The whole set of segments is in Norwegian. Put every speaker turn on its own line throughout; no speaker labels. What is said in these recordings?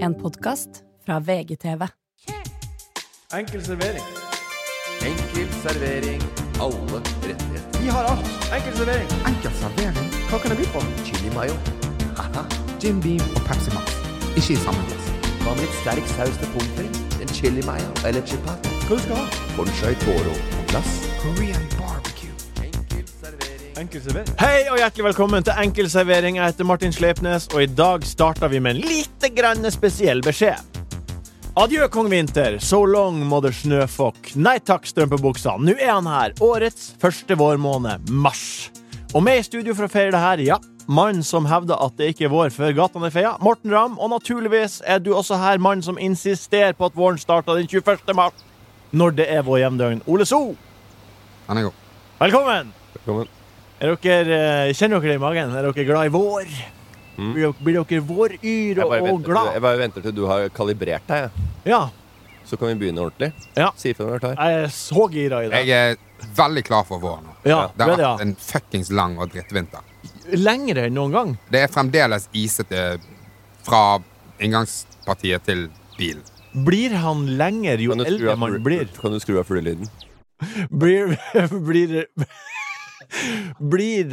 En podkast fra VGTV.
Enkel servering.
Enkel servering. Alle rettigheter.
Vi har alt. Enkel servering.
Enkel servering,
Hva kan jeg by på?
Chili mayo. Haha.
Jim Beam og Pepsi Max. Ikke i samme glass.
Hva med litt sterk saus til pommes frites? En chili mayo eller chipat?
Hva du skal ha?
Bonchai toro på glass.
Korean barbecue.
Enkel servering.
Enkel servering. Hei og hjertelig velkommen til Enkel servering. Jeg heter Martin Sleipnes, og i dag starter vi med en lite grann spesiell beskjed. Adjø, kong Vinter. So long, mother snøfokk. Nei takk, strømpebuksa. Nå er han her. Årets første vårmåned, mars. Og med i studio for å feire det her, ja. Mannen som hevder at det ikke er vår før gatene er feia, Morten Ramm. Og naturligvis er du også her, mannen som insisterer på at våren starter den 21. mars. Når det er vår hjemdøgn. Ole So.
Den er god.
Velkommen!
Velkommen.
Er dere, eh, kjenner dere det i magen? Er dere glad i vår? Blir, blir dere våryr
Jeg
og,
bare,
og
venter, til-
glad?
jeg bare venter til du har kalibrert deg, jeg.
Ja,
så kan vi begynne ordentlig.
Ja.
Si ifra når du er klar.
jeg er så gira i det.
Jeg er veldig klar for vår nå.
Ja,
det har
vet du, ja.
vært en fuckings lang og drittvinter.
Lengre enn noen gang.
Det er fremdeles isete fra inngangspartiet til bilen.
Blir han lenger jo
Kan du skru
eldre
av
man
fly-
blir?
Kan du skru av flylyden?
Blir Blir, blir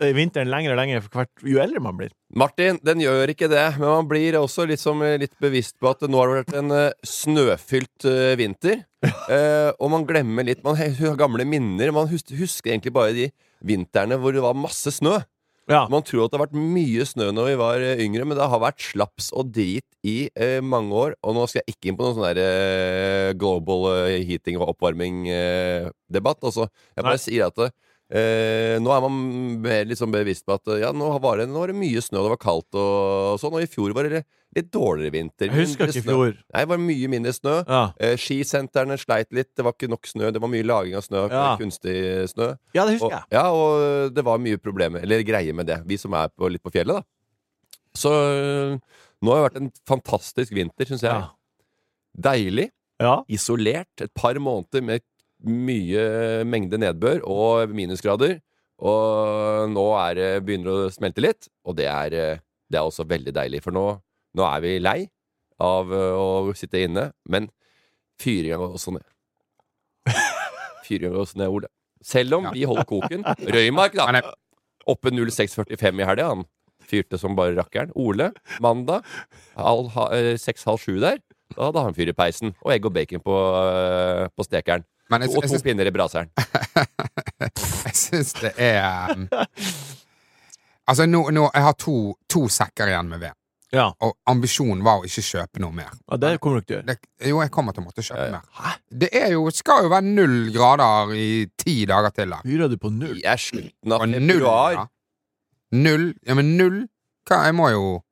eh, vinteren lengre og lengre for hvert jo eldre man blir?
Martin, den gjør ikke det, men man blir også litt, som, eh, litt bevisst på at det nå har det vært en eh, snøfylt eh, vinter. Eh, og man glemmer litt Man he- har gamle minner. Man hus husker egentlig bare de vintrene hvor det var masse snø.
Ja.
Man tror at det har vært mye snø når vi var eh, yngre, men det har vært slaps og drit i eh, mange år. Og nå skal jeg ikke inn på noen sånn der eh, global eh, heating og oppvarming-debatt. altså, jeg
Nei.
bare sier at eh, nå er man mer liksom bevisst på at eh, ja, nå var, det, nå var det mye snø, og det var kaldt og, og sånn. Og i fjor var det litt dårligere vinter.
Jeg husker
mindre
ikke i
snø.
fjor.
Nei, det var mye mindre snø.
Ja.
Eh, skisentrene sleit litt. Det var ikke nok snø. Det var mye laging av snø.
Ja.
Kunstig snø.
ja, det husker
Og,
jeg.
ja, og øh, det var mye problemer, eller greier med det, vi som er på, litt på fjellet, da. Så øh, nå har det vært en fantastisk vinter, syns jeg.
Ja.
Deilig,
ja.
isolert, et par måneder med mye mengde nedbør og minusgrader. Og nå er, det- begynner det å smelte litt, og det er, øh, det er også veldig deilig. For nå, nå er vi lei av øh, å sitte inne, men fyringa går også ned. Fyringa går også ned, Ole. Selv om
Ja.
vi holder koken. Røymark, da.
Han er
Oppe 06.45 i helga, han. Fyrte som bare rakkeren. Ole, mandag, halv ha- eh, seks-halv sju der, da hadde han fyr i peisen. Og egg og bacon på, eh, på stekeren.
Men jeg,
Og
jeg,
to
syns,
pinner i braseren.
jeg syns det er um, Altså, nå, nå Jeg har to, to sekker igjen med ved.
ja.
Og ambisjonen var å ikke kjøpe noe mer.
ja det kommer du ikke til å gjøre.
Det, jo, jeg kommer til å måtte kjøpe mer. Det er jo, skal jo være null grader i ti dager til. her.
Fyrer du på null?
I er slutten av
Og null, ja.
februar.
Null? Ja, men null? Hva, jeg må jo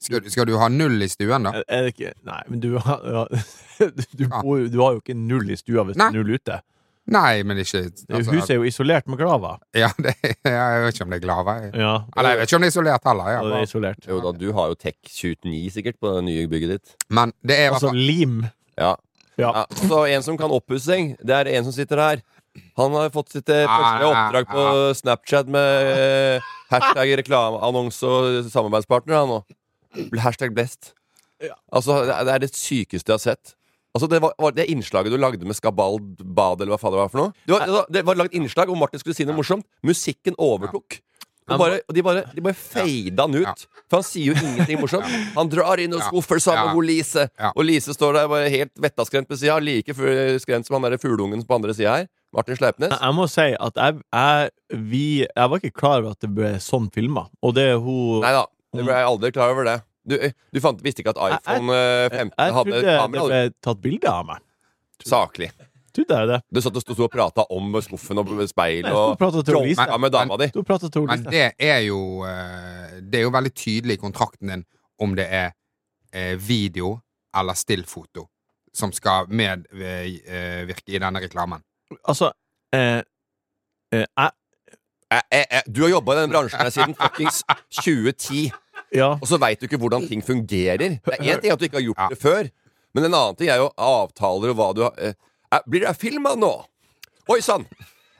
skal, skal du ha null i stuen, da?
Er er det ikke Nei, men du, har- ja, du, bor, jo- du har jo ikke null i stua hvis det
Nei.
er null ute.
Nei, men ikke
Det er jo-
altså,
Huset er jo isolert med glava.
ja, det, Jeg vet ikke om det er glava. jeg.
Ja,
Eller jeg vet ikke om det er isolert heller. Ja.
og det er isolert.
Jo da, du har jo Tech29 sikkert på det nye bygget ditt.
Men det er i hvert
Altså
fall
lim.
Ja.
Ja.
Ja, så en som kan oppussing, det er en som sitter her. Han har fått sitt eh,
Ah,
første oppdrag på Snapchat med eh, hashtag reklameannonse og samarbeidspartner, han nå. Hashtag best.
Ja.
Altså, det er- det er det sykeste jeg har sett. Altså, det, var, var det innslaget du lagde med Skabald Bad, eller hva faen det var for noe Det var, det var, det var lagd innslag hvor Martin skulle si noe morsomt. Musikken overtok. Og bare, og de bare, de bare fada han
Ja.
ut. For han sier jo ingenting morsomt. Han drar inn og
Ja.
skuffer sammen
Ja.
hvor Lise
Ja.
Og Lise står der bare helt vettaskrent på sida, like fu- skrent som han der fugleungen på andre sida her. Martin Sleipnes.
Jeg jeg må si at jeg, jeg, vi, jeg var ikke klar over at det ble sånn filma. Og det er hun
Nei da, jeg ble aldri klar over det. Du, du fant, visste ikke at
Mm. Jeg- jeg-
iPhone eh,
Jeg,
15
jeg
hadde
trodde det
kamera?
ble tatt bilde av meg.
du. Saklig.
Trodde jeg det.
Du satt og sto og prata om skuffen og
Nei,
speil
jeg sto og
og
pratet til Lise.
tråkka med dama di.
Du prata til
Men
Lise.
det er jo eh, Det er jo veldig tydelig i kontrakten din om det er eh, video eller stillfoto som skal medvirke i denne reklamen.
Altså eh, eh, jeg,
Jeg- jeg- jeg- Du har jobba i den bransjen her siden fuckings 2010.
Ja.
Og så veit du ikke hvordan ting fungerer. Det er én ting at du ikke har gjort
Ja.
det før, men en annen ting er jo avtaler og hva du har eh, eh, Blir det filma nå? Oi sann!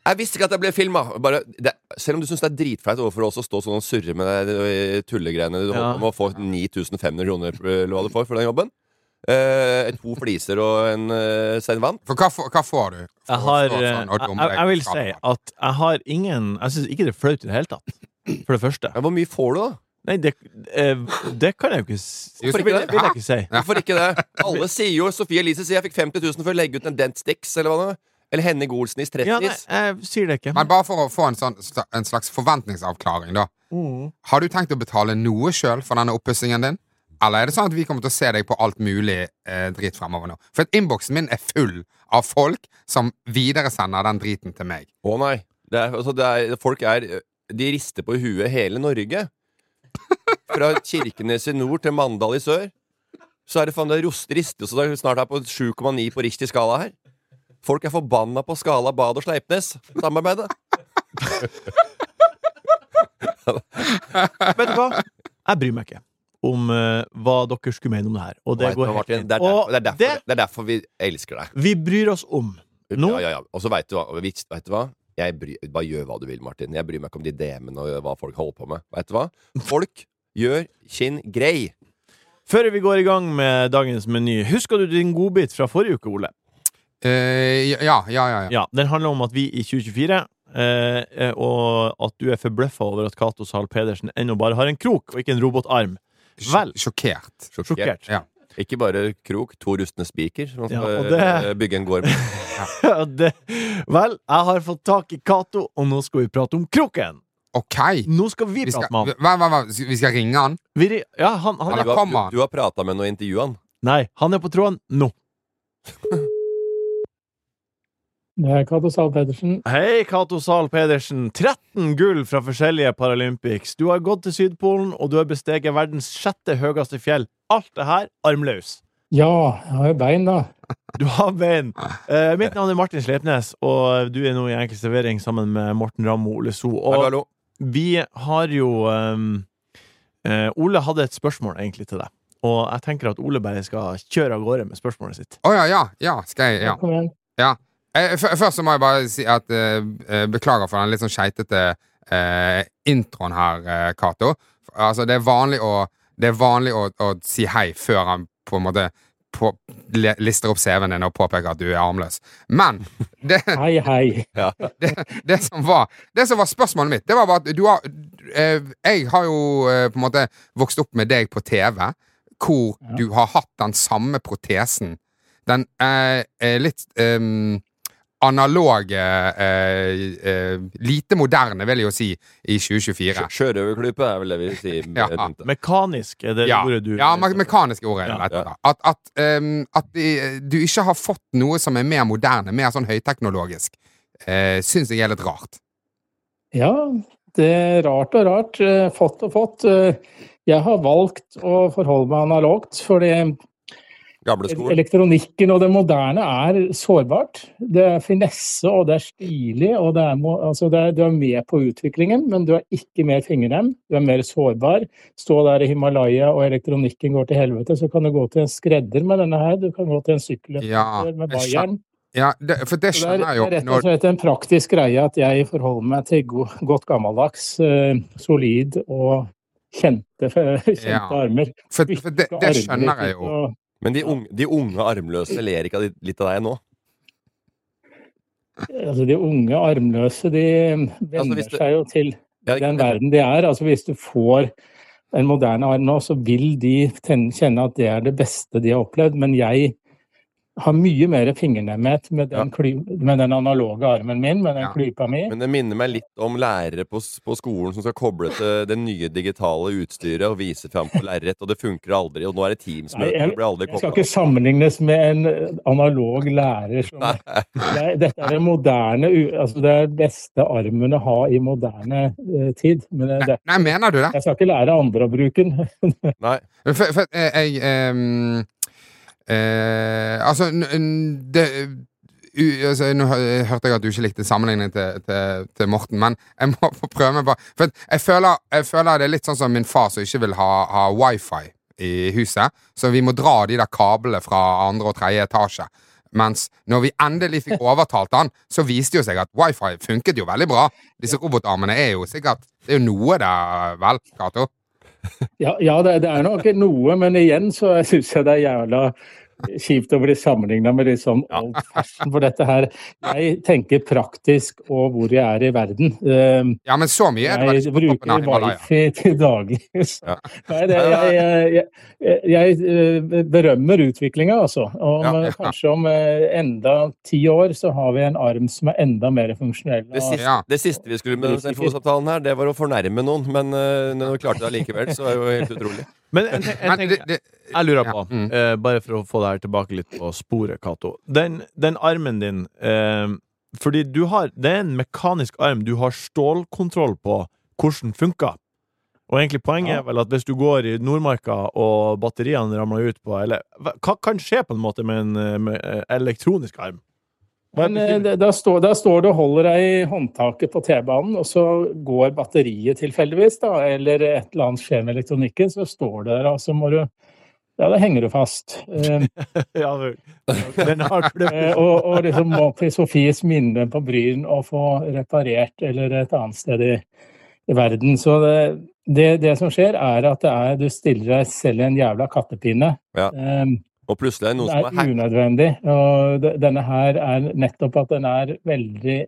Jeg visste ikke at jeg ble filma! Bare- det- Selv om du syns det er dritflaut overfor oss å stå sånn og surre med de de tullegreiene du
Ja.
holder på med å få 9500 kroner eller hva du får for den jobben. Eh, to fliser og en eh, sein vann.
For hva, får- hva får du? For
Jeg
å
har
stå
eh,
sånn og
jeg,
dumme
jeg,
deg
jeg vil
på
si
skapen?
at jeg har ingen Jeg syns ikke det er flaut i det hele tatt. For det første.
Ja, hvor mye får du, da?
Nei, det, eh, det kan jeg jo ikke s-
Jo, så
vil
blir
jeg,
det-
vil jeg ikke si.
Hvorfor ikke det? Alle sier jo Sofie Elise sier jeg fikk 50 000 for å legge ut en Dent Sticks, eller hva det var. Eller Henning Olsen i
Ja, nei,
Strettis.
jeg sier det ikke.
Men bare for å få en, sånn, en slags forventningsavklaring, da. Har du tenkt å betale noe sjøl for denne oppussingen din? Eller er det sånn at vi kommer til å se deg på alt mulig eh, drit fremover nå? For at innboksen min er full av folk som videresender den driten til meg.
Å nei. Det er, altså, det er, folk er De rister på huet hele Norge. Fra Kirkenes i nord til Mandal i sør. Så er det faen det er rost, rister så det er snart er på 7,9 på riktig skala her. Folk er forbanna på skala Bad og Sleipnes. Samarbeidet.
Vet du hva? Jeg bryr meg ikke om eh, hva dere skulle mene om det her. Og det
Vet du
går
hva,
helt
Martin,
fint.
det, er
Og
derfor, det, er derfor,
det
det er derfor vi elsker deg.
vi bryr oss om nå
Ja, ja, ja. Og så veit du hva. og Vet, vet du hva? Jeg bryr, bare gjør hva du vil, Martin. Jeg bryr meg ikke om de DM-ene og hva folk holder på med. Vet du hva? Folk gjør sin grei.
Før vi går i gang med dagens meny, husker du din godbit fra forrige uke, Ole?
Eh, ja, ja, ja, ja.
Ja, Den handler om at vi i 2024 eh, eh, og at du er forbløffa over at Cato Zahl Pedersen ennå bare har en krok og ikke en robotarm.
Sj-
Vel.
Sjokkert.
Sjokkert.
Ja.
Ikke bare krok, to rustne spiker. som Man
Ja,
skal
og det-
eh, bygge en gård med.
det, vel, jeg har fått tak i Cato, og nå skal vi prate om kroken!
OK.
Nå skal vi,
Vi skal,
prate med han.
hva, hva, hva, skal- vi skal ringe han?
Vi, ri- ja, han, han,
Eller
Du har,
kommer
du,
han?
du har prata med noen og intervjua han.
Nei, han er på tråden nå.
Det er Cato Zahl Pedersen.
Hei, Cato Zahl Pedersen. 13 gull fra forskjellige Paralympics. Du har gått til Sydpolen, og du har besteget verdens sjette høyeste fjell. Alt det her armløs.
Ja, jeg har jo bein, da.
Du har bein. Eh, mitt navn er Martin Slepnes, og du er nå i Enkel servering sammen med Morten Ramm og Ole So.
Hallo,
Og
hallo.
vi har jo ehm, eh, Ole hadde et spørsmål egentlig til deg, og jeg tenker at Ole bare skal kjøre av gårde med spørsmålet sitt.
Å ja, ja, ja. Skal jeg Ja.
Kom igjen.
Eh, f- Først så må jeg bare si at eh, eh, beklager for den litt sånn skeitete eh, introen her, eh, Cato. F- altså, det er vanlig, å, det er vanlig å, å si hei før han på en måte på, le, lister opp CV-en din og påpeker at du er armløs. Men det,
Hei, hei.
det, som var, det som var spørsmålet mitt, det var bare at du har eh, Jeg har jo eh, på en måte vokst opp med deg på TV, hvor du har hatt den samme protesen. Den eh, eh, litt eh, analoge eh, eh, Lite moderne, vil jeg jo si, i 2024.
Sjø- Sjørøverklype er vel det vi sier.
Ja.
eh, rundt det.
Mekanisk er det
Ja,
ordet du
ja me mekaniske ordet.
Ja,
rett og
ja.
slett. At, at, eh, at eh, du ikke har fått noe som er mer moderne, mer sånn høyteknologisk, uh, syns jeg er litt rart.
Ja, det er rart og rart. eh, Fått og fått. Eh, Jeg har valgt å forholde meg analogt, fordi
Gamle skolen.
elektronikken og det moderne er sårbart. Det er finesse, og det er stilig, og det er, mo- altså det er, du er med på utviklingen, men du er ikke mer fingernem. Du er mer sårbar. Stå der i Himalaya og elektronikken går til helvete, så kan du gå til en skredder med denne her. Du kan gå til en sykkel
Ja,
med
jeg skjøn-
bayern.
Ja, det, for det
Så Det
skjønner
er,
jeg jo.
det er rett
Når,
og slett en praktisk greie at jeg forholder meg til go godt gammeldags, eh, solid og kjente, kjente
Ja.
armer.
for for det,
Ikke
det
armer,
skjønner jeg
ikke
jo.
noe-
Men de unge, de unge armløse ler ikke av de- litt av deg nå.
Altså, de unge armløse de venner
Altså, hvis du-
seg jo til
Ja, ikke-
den verden de er. Altså, hvis du får en moderne arm nå, så vil de ten- kjenne at det er det beste de har opplevd. Men jeg har mye mer fingernemhet med den, kly med den analoge armen min, med den
Ja.
klypa mi.
Men det minner meg litt om lærere på, s- på skolen som skal koble til det nye digitale utstyret og vise fram på lerret, og det funker aldri, og nå er det
Nei,
Teams-møte,
jeg-
det blir aldri
Jeg skal
kobla.
ikke sammenlignes med en eh, analog lærer. Som, det er, dette er det moderne, u- altså det er det beste armen å ha i moderne eh, tid. Men det,
Nei,
det,
nei, mener du det?
jeg skal ikke lære andre å bruke den.
Nei.
For, for eh, jeg ehm, eh, Altså, n- n- det u, altså, Nå hø- hørte jeg at du ikke likte sammenligningen til, til, til Morten, men jeg må få prøve meg på For at jeg føler, jeg føler det er litt sånn som min far som ikke vil ha, ha wifi i huset, så vi må dra de der kablene fra andre og tredje etasje. Mens når vi endelig fikk overtalt han, så viste det jo seg at wifi funket jo veldig bra. Disse robotarmene er jo sikkert Det er jo noe der, vel, Cato?
Ja, ja det, det er nok noe, men igjen så syns jeg det er jævla kjipt å bli sammenligna med liksom old fashion for dette her. Jeg tenker praktisk og hvor jeg er i verden. Eh,
Ja, men så mye er det vel
Jeg
ikke på toppen av
bruker
Himalaya.
wifi til daglig.
Ja.
Nei, det, jeg, jeg, jeg, jeg eh, berømmer utviklinga, altså. Om,
Ja, ja.
eh, Kanskje om eh, enda ti år så har vi en arm som er enda mer funksjonell.
Det siste,
Ja.
det siste vi skulle med den telefonsamtalen her, det var å fornærme noen. Men eh, når du klarte det allikevel, så er det jo helt utrolig.
Men en, ting- en
Men
ting
det, det,
jeg lurer på,
Ja, mm.
eh, bare for å få deg tilbake litt på sporet, Cato. Den, den armen din eh, Fordi du har Det er en mekanisk arm du har stålkontroll på hvordan funker. Og egentlig poenget
Ja.
er vel at hvis du går i Nordmarka og batteriene ramler ut på eller, hva- Hva kan skje på en måte med en eh, med, eh, elektronisk arm? Hva er
Men eh,
bekymringen?
da- da står, da står du og holder deg i håndtaket på T-banen, og så går batteriet tilfeldigvis, da, eller et eller annet skjer med elektronikken, så står du der, og så må du Ja, da henger du fast. Eh,
ja, vel. den har
Eh,
kløpt.
og, og liksom må til Sofies minne på Bryn og få reparert eller et annet sted i, i verden. Så det, det, det som skjer, er at det er, du stiller deg selv i en jævla kattepine.
Ja.
Eh,
Og plutselig er det noen
det
som
er
har hacket
unødvendig. Og de- denne her er nettopp at den er veldig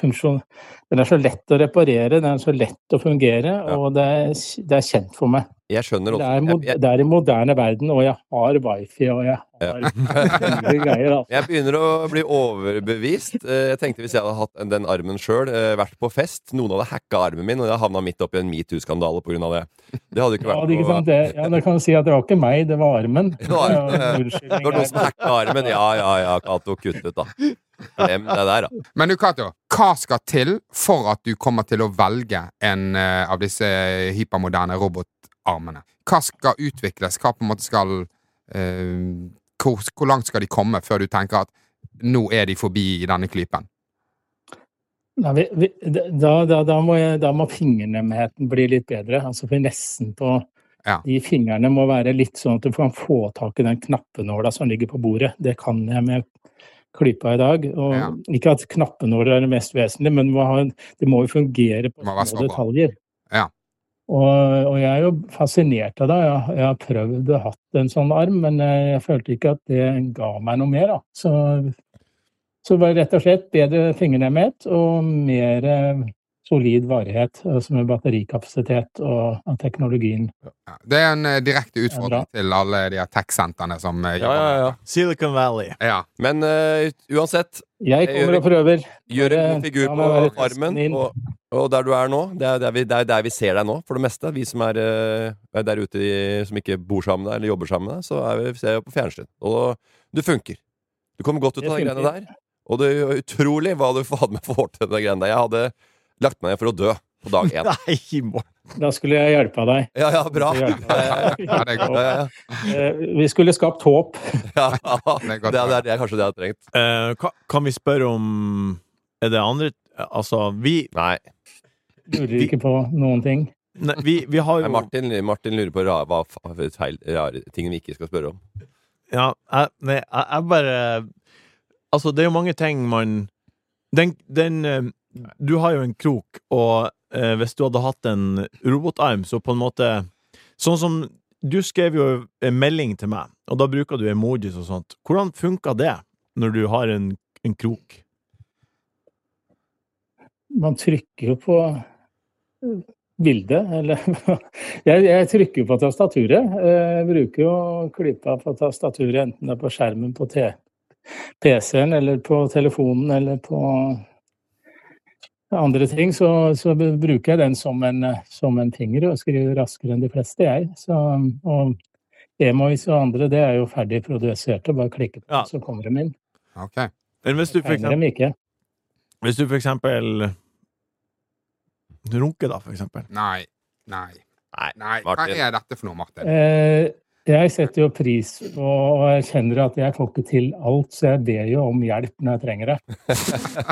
funksjon... Den er så lett å reparere, den er så lett å fungere,
Ja.
og det er, det er kjent for meg.
Jeg skjønner
Det er,
også.
mod,
Jeg, jeg,
det er i moderne verden, og jeg har wifi, og jeg har mye greier, altså.
jeg begynner å bli overbevist. Eh, Jeg tenkte Hvis jeg hadde hatt den armen sjøl, vært på fest Noen hadde hacka armen min, og jeg havna midt oppi en metoo-skandale pga. det. Det hadde ikke
Ja,
vært
det, er ikke
noe
sant? Det, ja, det kan du si at det var ikke meg, det var armen.
Det var armen,
Ja,
ja.
unnskyldning
Det var noen som
er-
hacka armen. Ja, ja, ja, Cato. Kutt ut, da. Glem det der, da.
Men du, Cato, hva skal til for at du kommer til å velge en eh, av disse hypermoderne robotarmene? Hva skal utvikles? Hva på en måte skal eh, hvor, hvor langt skal de komme før du tenker at nå er de forbi i denne klypen?
Nei, vi, vi, da, da, da, må jeg, da må fingernemheten bli litt bedre. Altså finessen på
Ja.
de fingrene må være litt sånn at du kan få tak i den knappenåla som ligger på bordet. Det kan jeg med klypa i dag. Og
Ja.
Ikke at knappenåler er det mest vesentlige, men må ha en, det må jo fungere på
Det må være
små
sårbar.
detaljer.
Ja.
Og, og jeg er jo fascinert av det. Jeg, har- jeg har prøvd og hatt en sånn arm, men eh, jeg følte ikke at det ga meg noe mer. Da. Så, så det var rett og slett bedre fingernemhet og mer eh, solid varighet, altså med batterikapasitet og at teknologien.
Ja, Det er en eh, direkte
Ja, bra.
utfordring til alle de her tech-sentrene som eh,
Ja, ja, ja.
Silicon Valley.
Ja.
Men eh, uansett,
Jeg kommer
Erik,
og prøver.
Gjør en god
Bare-
figur
ja,
på
men bare
armen,
inn.
og, og der du er nå. Det er der vi, det er der vi ser deg nå, for det meste. Vi som er eh, der ute i, som ikke bor sammen med deg, eller jobber sammen med deg, så er vi, ser vi på fjernsyn. Og du funker. Du kommer godt ut
Det
av de greiene
funker.
der. Og det er utrolig hva du faen meg får til de greiene der. Jeg hadde lagt meg ned for å dø på dag én.
Nei, Morten.
Da skulle jeg hjelpe deg.
Ja, ja, bra.
Jeg skulle hjelpe deg.
Ja, det er godt.
Ja, ja,
Eh, Vi skulle skapt håp.
ja.
er
Det,
godt.
er, det er kanskje det jeg har trengt.
Eh, ka- kan vi spørre om Er det andre Altså, vi,
Nei.
Lurer ikke på noen ting.
nei, vi, vi har
Nei,
jo
Martin, Martin lurer på ra- hva fa- feil, rare ting vi ikke skal spørre om.
Ja, jeg, nei, jeg, jeg bare Altså, det er jo mange ting man Den, den eh, Du har jo en krok, og eh, hvis du hadde hatt en robotarm, så på en måte Sånn som Du skrev jo en melding til meg, og da bruker du emojis og sånt. Hvordan funka det når du har en, en krok?
Man trykker jo på eh, bildet, eller jeg, jeg trykker jo på tastaturet. Eh, Jeg bruker jo klypa på tastaturet, enten det er på skjermen på T- PC-en, eller på telefonen, eller på andre ting. Så, så bruker jeg den som en, eh, som en finger, og skriver raskere enn de fleste, jeg. Så, og Emois og andre, det er jo ferdig produserte. Bare klikke på,
Ja.
så kommer de inn.
Ok.
Men hvis du for eksempel,
Tegner dem ikke.
hvis du for eksempel Runke, da, for eksempel.
Nei. Nei.
Nei,
Nei. Hva
Martin.
er dette for noe, Martin?
Eh, Jeg setter jo pris på og erkjenner at jeg får ikke til alt, så jeg ber jo om hjelp når jeg trenger det.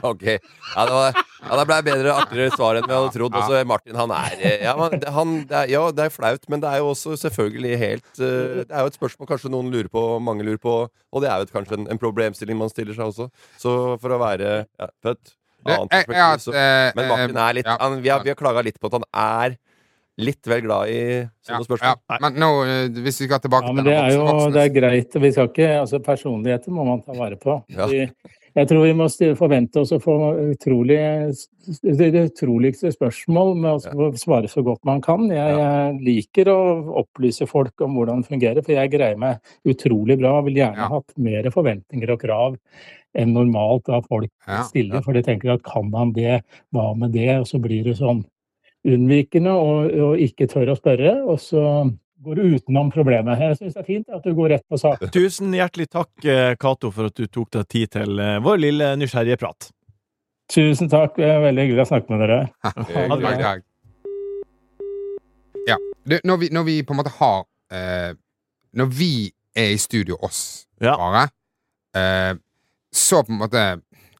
Ok. Ja, det, var, ja, det ble bedre akkurat svar enn vi hadde trodd. Også Martin, han er eh, ja, men det- han, det er, ja, det er flaut, men det er jo også selvfølgelig helt eh, Det er jo et spørsmål kanskje noen lurer på, mange lurer på, og det er jo et, kanskje en, en problemstilling man stiller seg også. Så for å være ja, født annet
Jeg- jeg
perspektiv,
har hatt,
så-
eh,
Men Martin
eh,
er litt
ja.
han, vi, har, vi har klaga litt på at han er litt vel glad i sånne
Ja,
spørsmål.
ja. Men nå, eh, hvis vi skal tilbake
Ja, men det
den
er jo
voksne-
det er greit. Vi skal ikke, altså Personligheter må man ta vare på.
Ja.
Vi- Jeg tror vi må sti- forvente oss å få utrolig, det det utroligste spørsmål med å få svare så godt man kan. Jeg, jeg liker å opplyse folk om hvordan det fungerer, for jeg greier meg utrolig bra. Vil gjerne
Ja.
hatt mer forventninger og krav enn normalt av folk
Ja,
stiller, for de tenker at kan han det, hva med det? Og så blir det sånn unnvikende og, og ikke tør å spørre, og så går du utenom problemet. Jeg syns det er fint at du går rett på sak.
Tusen hjertelig takk, eh, Cato, for at du tok deg tid til eh, vår lille nysgjerrige prat.
Tusen takk, det er veldig hyggelig å snakke med dere.
Eh,
Ha det bra.
dag, dag. Ja. Det, når, vi, når vi på en måte har eh, Når vi er i studio, oss
Ja.
bare, eh, så på en måte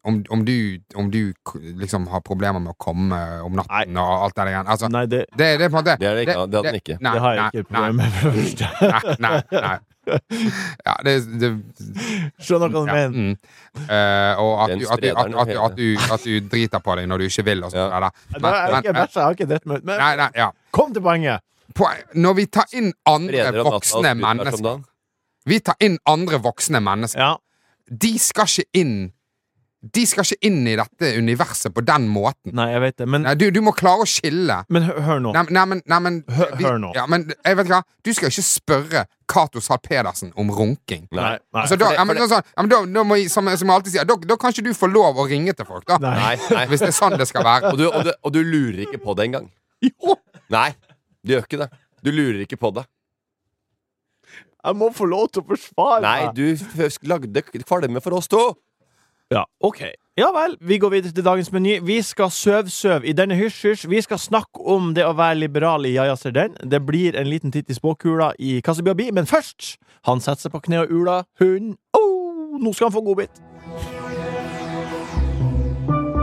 om, om, du, om du k- liksom har problemer med å komme om natten og alt det der igjen altså,
Nei, det,
det, det er på en måte
Det er det ikke, det hadde han ikke.
Nei,
det har jeg
nei,
ikke
nei,
problemer med. for det første.
nei, nei, nei. Ja, det, det
Skjønner hva du
ja,
mener.
mm. Eh, Og at
Den
du, at, du, at, at, du,
sprederen,
at, du, at du driter på deg når du ikke vil. Og sånt,
Ja.
der, da.
Da er jeg ikke
men-
bæsja, jeg har ikke dritt meg ut. Men
Mm. Nei, nei, ja.
kom til poenget!
Poeng- Når vi tar inn andre
Breder og Natta
voksne
og Spytter som
mennesker
dagen.
Vi tar inn andre voksne mennesker.
Ja.
De skal ikke inn De skal ikke inn i dette universet på den måten.
Nei, jeg vet det. Men,
Nei, du, du må klare å skille.
men hø- hør nå.
Nei, nei, men, nei, men
Hør-
vi-
hør nå.
Ja, men jeg vet ikke hva Du skal ikke spørre Cato Zahl Pedersen om runking.
Nei.
Nei, nei.
Altså, da, ja, men, sånn, sånn, ja, men da, da må jeg, som, som jeg alltid sier, da, da kan ikke du få lov å ringe til folk, da.
Nei.
Nei, nei.
Hvis det er sånn det skal være.
Og du, og, du, og du lurer ikke på det engang.
Jo!
Nei, du gjør ikke det. Du lurer ikke på det.
Jeg må få lov til å forsvare
Nei,
meg.
du f- lagde kvalme for oss to!
Ja, ok. Ja vel, vi går videre til dagens meny. Vi skal søv-søv i denne hysj-hysj. Vi skal snakke om det å være liberal i Ja ja ser den. Det blir en liten titt i spåkula i Kassebiabi, men først Han setter seg på kne og ula. Hun oh, Nå skal han få godbit.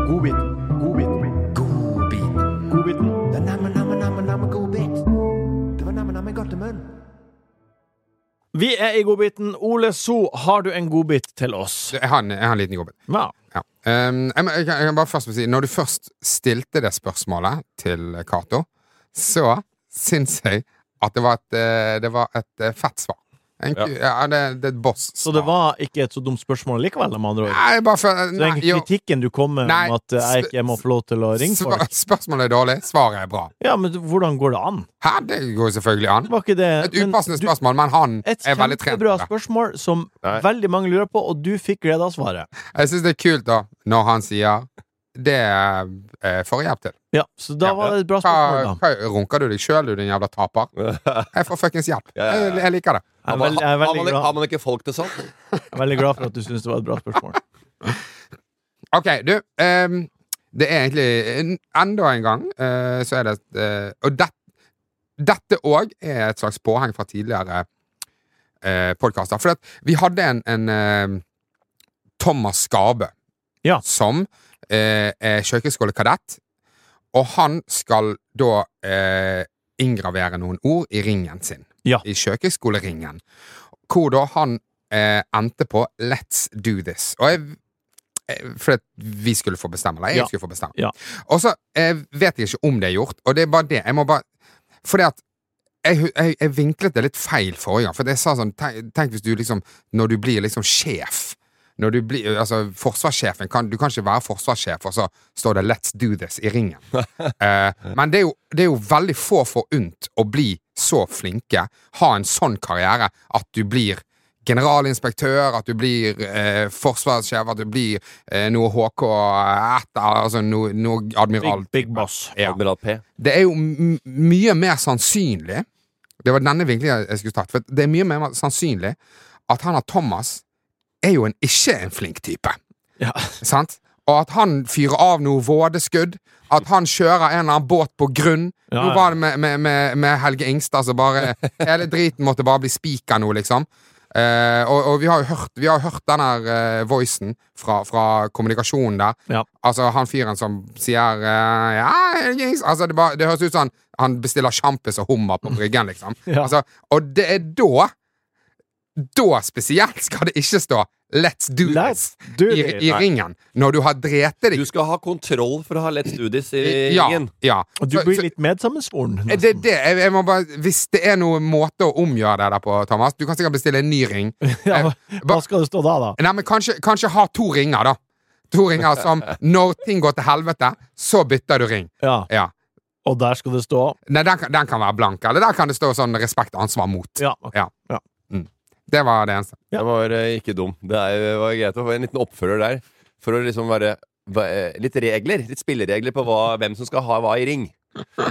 Godbit, godbit, godbiten. Vi er i godbiten. Ole So, har du en godbit til oss?
Jeg har en, jeg har en liten jobb.
Ja.
Ja. Ehm, jeg, må- jeg, kan- jeg kan bare først få si Når du først stilte det spørsmålet til Cato, så syns jeg at det var et, eh, det var et eh, fett svar. En, ku- ja. det, det er et boss.
Så det var ikke et så dumt spørsmål likevel, med andre ord?
Nei, jeg bare føler
Så den
nei, jo,
kritikken du kom med
Nei,
om at eh, jeg ikke må få lov til å ringe
svar,
folk
Spørsmålet er dårlig, svaret er bra.
Ja, men hvordan går det an?
Hæ, det går jo selvfølgelig an.
Var ikke det
Et
men
upassende
du-
spørsmål, men han
Et
er veldig trent.
kjempebra
på det.
spørsmål som
Nei.
veldig mange lurer på, og du fikk glede av svaret.
Jeg syns det er kult, da, når han sier det eh, får jeg hjelp til.
Ja, Så da
Ja.
var det et bra
Hva,
spørsmål, da.
hva, runker du deg sjøl, du din jævla taper? Jeg får fuckings hjelp.
Ja, ja, ja.
Jeg, jeg liker det.
Jeg er veldig, jeg er
har,
veldig,
man, har
glad,
man ikke folk til sånt?
jeg er veldig glad for at du syns det var et bra spørsmål.
Ok, du ehm, Det er egentlig en- Enda en gang eh, så er det eh, Og det, dette òg er et slags påheng fra tidligere uh, podkaster. For at vi hadde en, en eh, Thomas Skabe
Ja.
som eh, er kjøkkenskolekadett. Og han skal da eh, inngravere noen ord i ringen sin.
Ja.
I kjøkkenskoleringen. Hvor da han eh, endte på 'Let's do this'. Og jeg eh, for at vi skulle få bestemme, eller jeg
Ja.
skulle få bestemme.
Ja.
Og så eh, vet jeg ikke om det er gjort, og det er bare det. Jeg må bare Fordi at jeg, hu- jeg, jeg vinklet det litt feil forrige gang, for jeg sa sånn tenk, tenk hvis du liksom Når du blir liksom sjef når du blir, altså forsvarssjefen kan, Du kan ikke være forsvarssjef, og så står det 'Let's do this' i ringen. Eh, men det er, jo, det er jo veldig få forunt å bli så flinke, ha en sånn karriere, at du blir generalinspektør, at du blir eh, forsvarssjef, at du blir eh, noe HK etter, altså noe, noe admiral
Big, big boss.
Ja.
Admiral P.
Det er jo m mye mer sannsynlig Det var denne vinklingen jeg skulle tatt. For det er mye mer sannsynlig at han av Thomas er jo en ikke en flink type.
Ja.
Sant? Og at han fyrer av noe vådeskudd. At han kjører en eller annen båt på grunn.
Ja,
Nå
ja.
var det med, med, med, med Helge Ingstad som bare Hele driten måtte bare bli spika nå, liksom. Eh, og, og vi har jo hørt, vi har jo hørt den her eh, voicen fra, fra kommunikasjonen der.
Ja.
Altså han fyren som sier eh, ja, Helge Ingstad altså, det, bare, det høres ut som han, han bestiller sjampis og hummer på bryggen, liksom.
Ja.
Altså, og det er da Da spesielt skal det ikke stå 'Let's do
Let's
this'
do
i,
this.
i
Nei.
ringen. Når du har drept deg
Du skal ha kontroll for å ha lett studies i
ja,
ringen.
ja.
Og du
Så- så-
blir litt medsammensvoren.
Eh, Det, det, jeg, jeg må bare, hvis det er noen måte å omgjøre det der på, Thomas Du kan sikkert bestille en ny ring.
Ja, hva
Bare-
skal det stå da, da?
Nei, men kanskje, kanskje ha to ringer, da. To ringer som når ting går til helvete, så bytter du ring.
Ja,
Ja.
Og der skal det stå
Nei, den, kan- den kan være blank, eller der kan det stå sånn respekt, ansvar, mot.
Ja, ok.
Ja.
Ja.
Mm. Det var det eneste.
Den var eh, ikke dum. Det er, var greit å få en liten oppfølger der. For å liksom være va- eh, litt regler. Litt spilleregler på hva, hvem som skal ha hva i ring.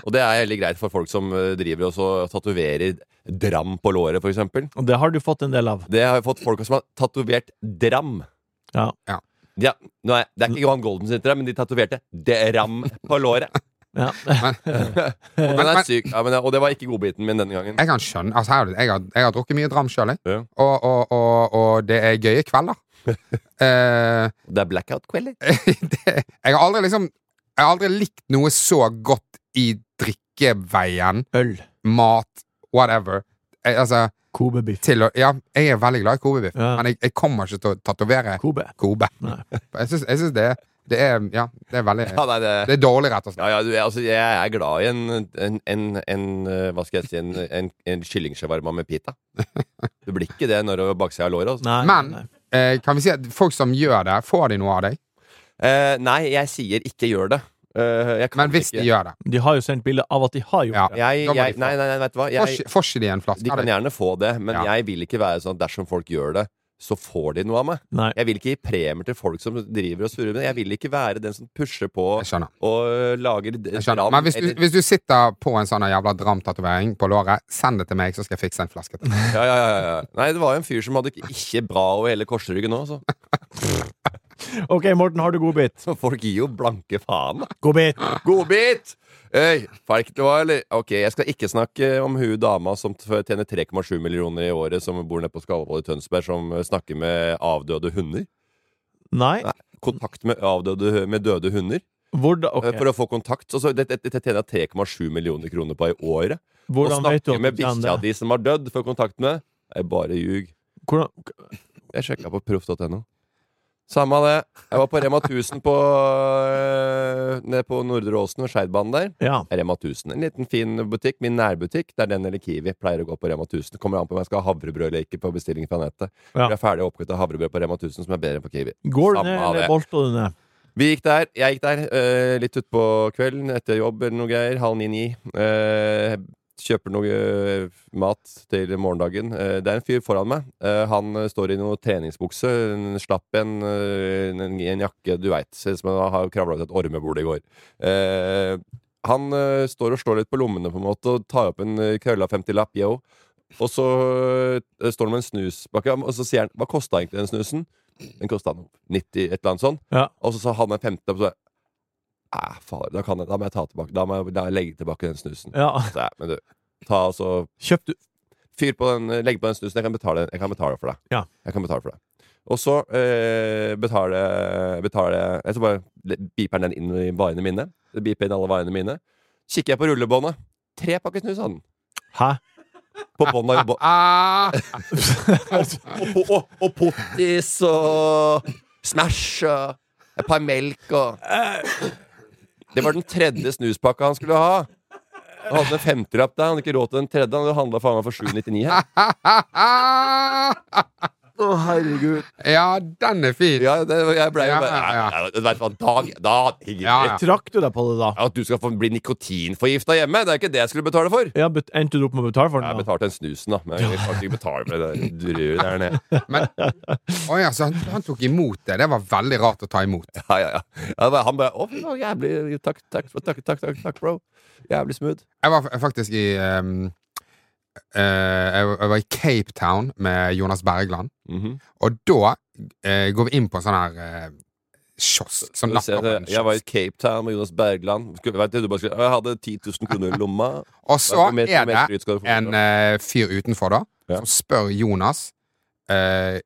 Og det er veldig greit for folk som eh, driver og så tatoverer dram på låret, f.eks.
Og det har du fått en del av.
Det har jeg fått folk som har tatovert dram.
Ja.
Ja.
Ja, nå er, det er ikke Johan Golden sin dram, men de tatoverte dram på låret.
Ja.
Og den
Men-
er syk. Ja, men, og det var ikke godbiten min denne gangen.
Jeg kan skjønne altså, her, er det- jeg, har, jeg har drukket mye dram sjøl, jeg.
Ja.
Og, og, og, og det er gøye kvelder. eh,
Det er blackout-kvelder.
det, jeg har aldri liksom Jeg har aldri likt noe så godt i drikkeveien
Øl.
mat, whatever. Jeg, altså,
Kobebiff.
til å, ja, jeg er veldig glad i kobebiff,
Ja.
men jeg, jeg kommer ikke til å tatovere
Kobe.
kobe.
Nei.
Jeg syns, jeg syns det, det er Ja, det er veldig
Ja, nei, det,
Det er dårlig, rett og slett.
Ja, ja, du, jeg- altså, jeg er glad i en, en, en, en eh, Hva skal jeg si En, en, en kyllingshawarma med pita. Du blir ikke det når du baker seg av låret. Altså. Nei.
Nei,
Men
nei.
eh, kan vi si at folk som gjør det, får de noe av deg?
Eh, nei, jeg sier ikke gjør det. Eh, jeg kan
Men hvis
ikke.
de gjør det,
De har jo sendt bilde av at de har gjort
Ja.
det.
jeg,
da må
jeg,
de få.
Nei, nei, nei, vet du hva.
får
Jeg,
ikke- får ikke de en flaske
de
av
kan
deg?
gjerne få det, men
Ja.
jeg vil ikke være sånn at dersom folk gjør det, så får de noe av meg.
Nei.
Jeg vil ikke gi premier til folk som driver og surrer med det. Jeg vil ikke være den som pusher på
Jeg skjønner.
og eh, lager
Jeg skjønner. Men hvis du,
eller-
hvis du sitter på en sånn jævla dramtatovering på låret, send det til meg, så skal jeg fikse en flaske til deg.
ja, ja, ja, ja. Nei, det var jo en fyr som hadde ikke- ikke bra over hele korsryggen nå, så.
OK, Morten, har du godbit?
så folk gir jo blanke faen. da.
Godbit!
Godbit! Øy, feil ikke det var, eller? Ok, jeg skal ikke snakke om hun dama som t- tjener 3,7 millioner i året, som bor nede på Skalvold i Tønsberg, som eh, snakker med avdøde hunder.
Nei?
Nei. Kontakt med avdøde med døde hunder.
Hvordan,
eh,
ok.
For å få kontakt. Så, så dette det, det tjener jeg 3,7 millioner kroner på i året.
Hvordan
og
vet du
snakker
at
med
du kan
bikkja
det?
di som har dødd, for kontakt med. Jeg bare ljug.
Hvordan,
Jeg sjekka på proff.no. Samme av det. Jeg var på Rema 1000 på, øh, nede på Nordre Åsen ved Skeidbanen der.
ja.
Rema 1000. En liten fin butikk. Min nærbutikk. Det er den eller Kiwi. Pleier å gå på Rema 1000. Kommer an på om jeg skal ha havrebrød eller ikke på bestilling fra nettet.
Ja.
Jeg er ferdig oppkvitt av havrebrød på Rema 1000, som er bedre enn på Kiwi.
Går du
Samme
ned,
av
eller
det.
bolter du ned?
Vi gikk der, jeg gikk der eh, litt utpå kvelden etter jobb eller noe greier, halv Eh, ni-ni. kjøper noe eh, mat til morgendagen. Eh, det er en fyr foran meg. Eh, han eh, står i noe treningsbukse, en slapp en, eh, en, en jakke, du veit. Ser ut som han har kravla ut et ormebol i går. Eh, han eh, står og slår litt på lommene på en måte og tar opp en eh, krølla 50-lapp, yo. Og så eh, står han med en snus bak ham, og så sier han 'Hva kosta egentlig den snusen?' Den kosta 90, et eller annet sånt.
Ja.
Og så sa han en femte, og så Æh, fader, da, kan jeg, da må jeg ta tilbake Da må jeg, da legge tilbake den snusen.
ja.
Så jeg, men du, ta og så
Kjøpte du
Fyr på den, legg på den snusen. Jeg kan betale, jeg kan betale for deg.
Ja.
Jeg kan betale for deg. Og så eh, betaler betaler jeg- Jeg så bare le- beeper den inn i varene mine. Det Beeper inn alle varene mine. Kikker jeg på rullebåndet. Tre pakker snus hadde den.
Hæ?
På båndet av rullebåndet.
Ah,
Og, og, og pottis og Smash og et par melk og Det var den tredje snuspakka han skulle ha. Han hadde en femtilapp der. Han hadde ikke råd til den tredje. Han hadde handla faen meg for 799 her.
ah,
Å, herregud.
ja, den er fin.
Ja, det, jeg ble jo
Ja,
bare
ja, ja.
Nei, nei, Du vet hva, dag, da Ingrid.
Ja, ja.
Trakk du deg på det, da?
At du skal få bli nikotinforgifta hjemme, det er ikke det jeg skulle betale for.
Ja, bet- Endte du opp med å betale for
Jeg
den? da?
betalte den snusen, da. Men jeg kan ikke betale for det der druet der nede.
Men, Å ja, så han, han tok imot det. Det var veldig rart å ta imot.
Ja, ja, ja. Ja, det var- Han bare Å, fy faen, jævlig Takk, takk, takk, takk, takk, takk bro. Jævlig smooth.
Jeg var f- faktisk i ehm, eh, jeg, var- jeg var i Cape Town med Jonas Bergland,
Mhm.
og da eh, går vi inn på en sånn her eh, kiosk.
Skal
Sånn
vi se,
lapper på en
Jeg var i
kiosk.
Cape Town med Jonas Bergland. Skulle, vet du, du bare skulle, jeg hadde 10 000 kroner i lomma.
Og så
Hvor mye- hvor mye
er det
skryt skal du få?
en eh, fyr utenfor, da,
Ja.
som spør Jonas eh,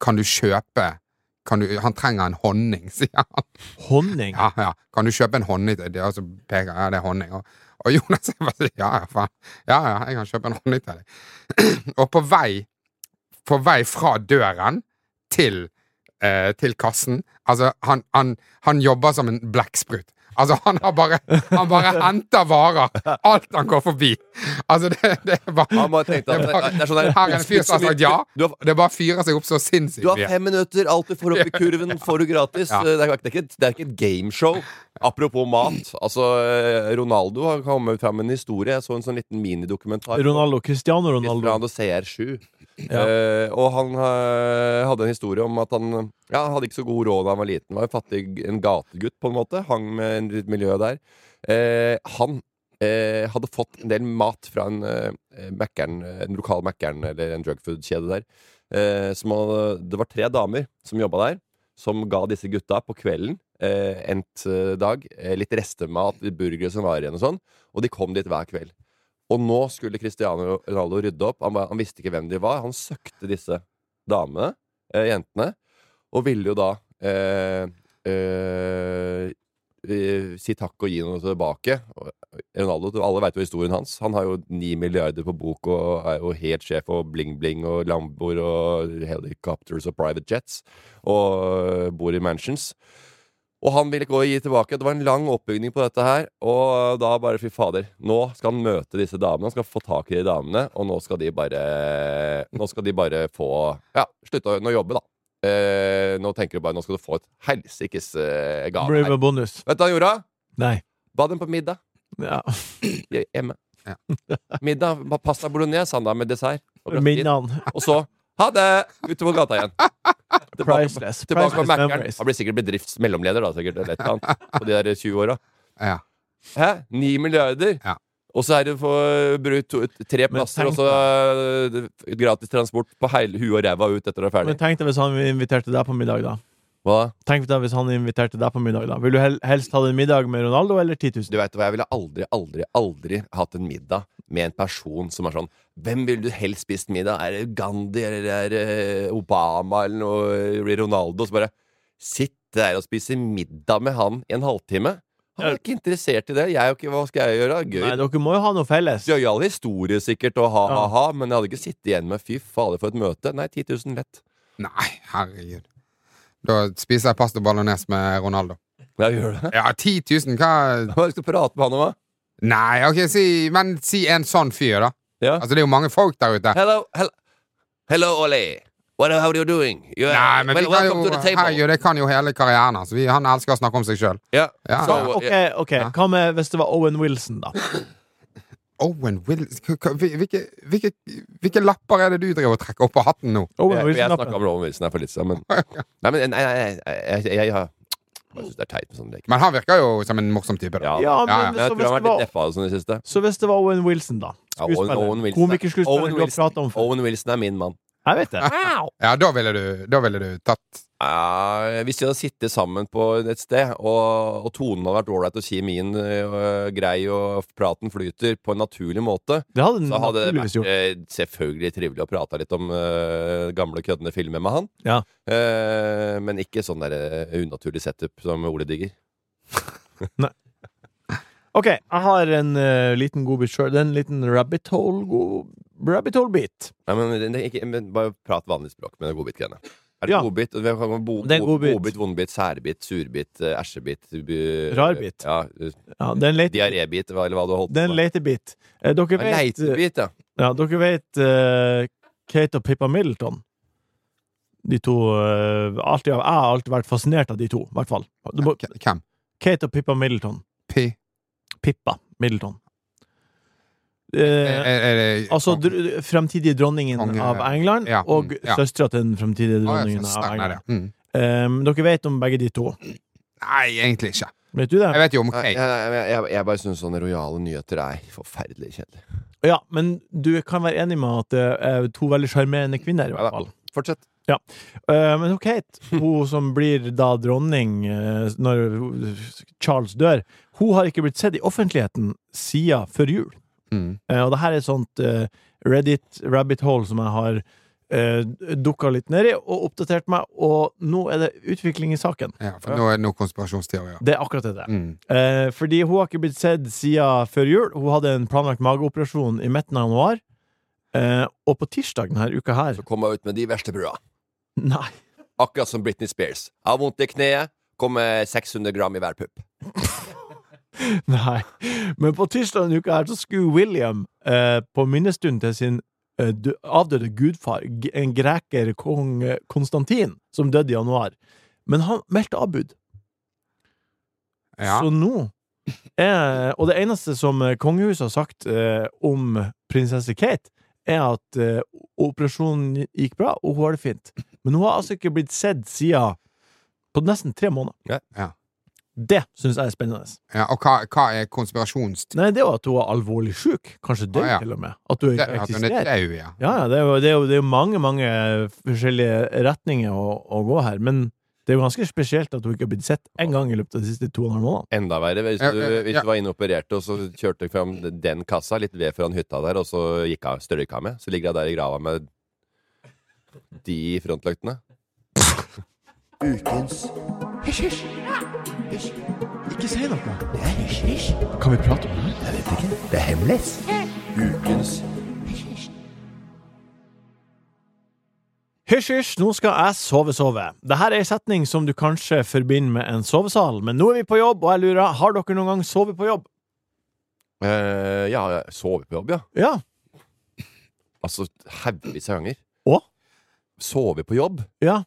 Kan du kjøpe kan du, Han trenger en honning, sier han.
Honning?
Ja, ja. Kan du kjøpe en honning til deg? Og så peker jeg, ja, det er honning. Og, og Jonas er bare sånn, ja, ja, faen. Ja, ja, jeg kan kjøpe en honning til deg. og på vei, på vei fra døren til, eh, til kassen, altså, han, han, han jobber som en blekksprut. Altså, han har bare, han bare henter varer, alt han går forbi. Altså, det, det er bare...
Han bare tenkte at
det er bare-
nei, det er sånn der-
Her er en fyr som har sagt ja,
Du har,
det bare fyrer seg opp så sinnssykt
du har
mye.
fem minutter, alt du får opp i kurven, får du gratis. Eh,
Ja.
Det, er, ikke- det, er ikke, et- det er ikke et gameshow. Apropos mat. Altså, eh, Ronaldo har kommet fram med en historie. Jeg så en sånn liten minidokumentar.
Ronaldo, Cristiano Ronaldo.
Ronaldo CR7.
Ja.
Eh, og han eh, hadde en historie om at han ja, han hadde ikke så god råd da han var liten. Var en fattig en gategutt, på en måte. Hang med en- i et miljø der. Eh, han eh, hadde fått en del mat fra en, eh, Mækkern- en lokal Mækkern eller en drugfood-kjede der. Eh, som hadde, det var tre damer som jobba der, som ga disse gutta på kvelden eh, endt eh, dag eh, litt restemat, litt burgere som var igjen og sånn. Og de kom dit hver kveld. Og nå skulle Cristiano Ronaldo rydde opp. Han, var, han visste ikke hvem de var. Han søkte disse damene, eh, jentene, og ville jo da eh, eh, eh, si takk og gi noe tilbake. Og Ronaldo, Alle veit jo historien hans. Han har jo ni milliarder på bok og er jo helt sjef og bling-bling og Lamboer og helicopters og private jets og eh, bor i mansions. Og han ville gå og gi tilbake. Det var en lang oppbygning på dette her. Og da bare fy fader. Nå skal han møte disse damene, han skal få tak i de damene, og nå skal de bare Nå skal de bare få Ja, slutte å nå jobbe, da. Eh, nå tenker du bare Nå skal du få et helsikes eh, gave.
Blir
Her.
med bonus.
Vet du hva han gjorde?
Nei.
Ba dem på middag
Ja.
hjemme.
Ja.
Middag. ba- Pasta bolognese han da, med dessert. Og, brakk dit.
Minnene.
og så ha det! Ute på gata igjen. Tilbake,
Priceless.
tilbake på
Priceless
Mac-eren.
memories.
Han blir sikkert bedriftsmellomleder da, sikkert. Eller et eller annet, på de der 20 åra.
Ja.
Hæ? 9 milliarder?
Ja.
Og så er det for brukt to- tre
Men
plasser,
tenk
og så eh, gratis transport på hele huet og ræva ut etter at det er ferdig.
Men tenk deg hvis han inviterte deg på middag, da.
Hva da?
Tenk deg hvis han inviterte deg på middag, da. Vil du hel helst ha en middag med Ronaldo eller 10 000?
Du vet hva, Jeg ville aldri, aldri, aldri hatt en middag med en person som er sånn Hvem ville du helst spist middag? Er det Gandhi, eller er det eh, Obama, eller noe eller Ronaldo? Så bare Sitte der og spise middag med han i en halvtime? Han er ikke interessert i det. Jeg er jo ikke Hva skal jeg gjøre? Gøy.
Nei, dere må jo ha noe felles.
Gøyal historie, sikkert, og
Ja.
ha-ha-ha, men jeg hadde ikke sittet igjen med fy fader for et møte. Nei, 10 000 lett.
Nei, herregud. Da spiser jeg pasta bolognese med Ronaldo.
Ja, gjør det.
Ja, 10 000, hva
Hva skal du prate med han om, da?
Nei, ok, si, men si en sånn fyr, da.
Ja.
Altså, det er jo mange folk der ute.
Hello, hello, hello Ollie. What, how are you doing? You are-
Nei, men vi
well,
kan
welcome
jo,
to the table.
herregud, det kan jo hele karrieren hans. Vi- Han elsker å snakke om seg sjøl.
Ja.
Ja,
Så,
ja.
Ok, ok.
Ja.
Hva med hvis det var Owen Wilson, da?
Owen Willis k- k- hvil- Hvilke, hvilke, hvilke lapper er det du driver og trekker opp av hatten nå?
Owen
Jeg, jeg snakka
Wilson-lappen.
om Rowan Wilson her for litt siden, men Nei, men nei, nei, nei, jeg, jeg, jeg, har- jeg syns det er teit med sånne leker.
Men han virker jo som en morsom type. da
Ja,
Ja, men
Ja, ja.
men jeg
så
tror
hvis
han
det
har vært
var
litt deffa og sånn i det siste.
Så hvis det var Owen Wilson, da?
Ja, Owen,
Skuespiller.
Owen Wilson.
Komikerskuespiller
Owen
du har
Wilson.
pratet om før.
Owen Wilson er min mann.
Jeg vet det.
Ja, da ville du, da ville du tatt
Ja, hvis vi hadde sittet sammen på et sted, og, og tonen hadde vært ålreit, og kjemien øh, grei, og praten flyter på en naturlig måte,
Det hadde den
så hadde det
naturligvis
vært
gjort.
eh, selvfølgelig trivelig å prate litt om eh, gamle, køddende filmer med han.
Ja.
Eh, men ikke sånn der eh, unaturlig setup som Ole digger.
Ok, jeg har en eh, liten godbit sjøl. En liten rabbit hole go- Rabbit hole-bit.
Nei, men, det- det, ikke, men Bare prat vanlig språk med den godbit-greiene. Er det
Ja.
godbit? Det er Bo,
Det er
bo-
godbit.
Godbit, vondbit, særbit, surbit, eh, æsjebit bu-
Rarbit.
Ja, eh,
Ja, det er en lete-
Diarébit, hva- eller hva du har holdt
det er en leitebit. Eh, dere
Ja,
vet, eh,
Leitebit, ja.
ja, dere vet eh, Kate og Pippa Middleton? De to eh, alltid, Jeg har alltid vært fascinert av de to, i hvert fall. Du må-
K- Hvem?
Kate og Pippa Middleton.
P?
Pippa Middleton.
Er,
Eh,
er det
Altså dr fremtidige dronningen
Konge-
av England
ja,
og
mm, ja.
søstera til den fremtidige
Å, ja,
dronningen
så
av
stemmer
England.
sånn det. Mm.
Ehm, dere vet om begge de to.
Nei, egentlig ikke.
Vet du
Jeg
det?
vet jo om
Nei,
Kate.
Jeg, jeg, jeg, jeg bare syns sånne rojale nyheter er forferdelig kjedelig.
Ja, men du kan være enig med at det er eh, to veldig sjarmerende kvinner, i
Ja da.
hvert fall.
Fortsett.
Eh, men hun Kate, hun som blir da dronning eh, når Charles dør, hun har ikke blitt sett i offentligheten siden før jul.
Mm.
Eh, og det her er et sånt eh, Reddit rabbit hole som jeg har uh, dukka litt ned i og oppdatert meg, og nå er det utvikling i saken.
Ja, for nå er det noen konspirasjonsteorier.
Det er akkurat det det. er.
Mm.
Eh, fordi hun har ikke blitt sett siden før jul. Hun hadde en planlagt mageoperasjon i midten av januar. Eh, og på tirsdag denne uka her
Så kom jeg ut med de verste brua.
Nei.
Akkurat som Britney Spears. Jeg har vondt i kneet. Kom med 600 gram i hver pupp.
Nei. Men på tirsdag denne uka her så skulle William eh, på minnestunden til sin eh, dø- avdøde gudfar, g- en greker kong eh, Konstantin, som døde i januar. Men han meldte avbud.
Ja.
Så nå er, Og det eneste som eh, kongehuset har sagt eh, om prinsesse Kate, er at eh, operasjonen gikk bra, og hun har det fint. Men hun har altså ikke blitt sett siden på nesten tre måneder.
Ja.
Ja.
Det syns jeg er spennende.
ja. Og hva, hva er konspirasjonsteorien?
Nei, det er jo at hun er alvorlig syk. Kanskje død,
Ah, ja.
til og med. At hun ikke
At hun er
eksisterer.
død, ja.
Ja, ja, det er jo, det er jo, det er jo mange, mange eh, forskjellige retninger å, å gå her, men det er jo ganske spesielt at hun ikke har blitt sett en gang i løpet av de siste to og en halv månedene.
Enda verre hvis
Ja,
du,
ja,
hvis
ja.
du var inne og opererte, og så kjørte du fram den kassa, litt ved foran hytta der, og så gikk av, strøyka av med. Så ligger jeg der i grava med de frontlyktene.
Ukens
Ikke si noe!
Det er hemmelig. Ukens
Hysj, hysj, nå skal jeg sove, sove. Dette er en setning som du kanskje forbinder med en sovesal, men nå er vi på jobb, og jeg lurer, har dere noen gang sovet på jobb?
Eh, ja, jeg sover på jobb, ja.
Ja.
Altså haugevis av ganger.
Å?
Sover på jobb.
Ja.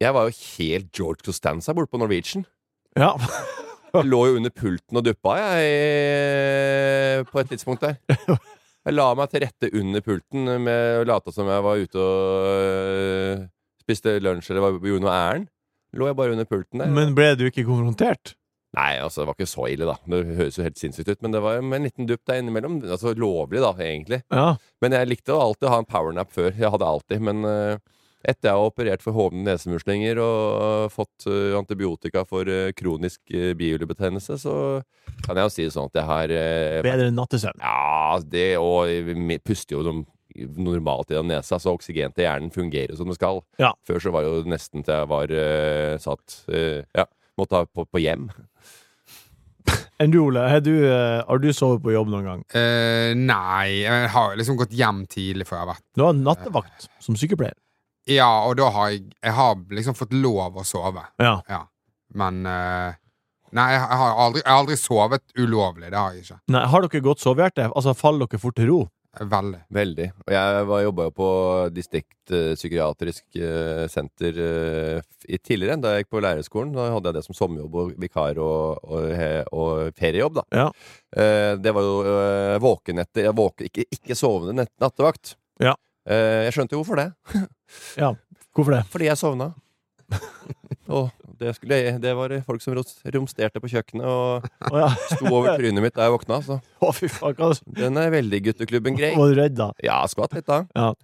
Jeg var jo helt George Costanza borte på Norwegian.
Ja.
Jeg lå jo under pulten og duppa, jeg, i- på et tidspunkt der. Jeg la meg til rette under pulten med å late som jeg var ute og øh, spiste lunsj eller var- gjorde noe ærend. Lå jeg bare under pulten der.
Men ble du ikke konfrontert?
Nei, altså, det var ikke så ille, da. Det høres jo helt sinnssykt ut, men det var jo en liten dupp der innimellom. Altså lovlig, da, egentlig.
Ja.
Men jeg likte å alltid å ha en powernap før. Jeg hadde alltid, men eh, etter jeg har operert for hovne nesemuslinger og eh, fått eh, antibiotika for eh, kronisk uh, bihulebetennelse, så kan jeg jo si det sånn at jeg har eh, vært-
Bedre enn nattesøvn.
Ja, det og vi puster jo noen- normalt gjennom nesa, så oksygen til hjernen fungerer som det skal.
Ja.
Før så var det jo nesten til jeg var eh, satt eh, Ja, måtte ha på, på hjem.
Enn du, Ole, har du, eh, har du sovet på jobb noen gang?
Eh, nei, jeg har liksom gått hjem tidlig før jeg har vært
Du har nattevakt som sykepleier.
Ja, og da har jeg Jeg har liksom fått lov å sove.
Ja.
Ja. Men eh, Nei, jeg jeg har aldri, jeg har aldri sovet ulovlig. Det har jeg ikke.
Nei, har dere godt sovehjerte? Altså, faller dere fort til ro?
Veldig.
Veldig. Og jeg var- jobba jo på distriktpsykiatrisk senter eh, f- i tidligere, da jeg gikk på lærerskolen. Da hadde jeg det som sommerjobb og vikar og, og, he- og feriejobb, da.
Ja.
Eh, Det var jo eh, våkenetter jeg våk- ikke, ikke sovende nett, nattevakt.
Ja.
Eh, Jeg skjønte jo hvorfor det.
Hvorfor det?
Fordi jeg sovna. og det, skulle, det var folk som ros- romsterte på kjøkkenet og
Å ja.
sto over trynet mitt da jeg våkna. Så
Å, fy faen, hva
den er veldig gutteklubben grei.
Var du redd, da?
Ja, skvatt litt da.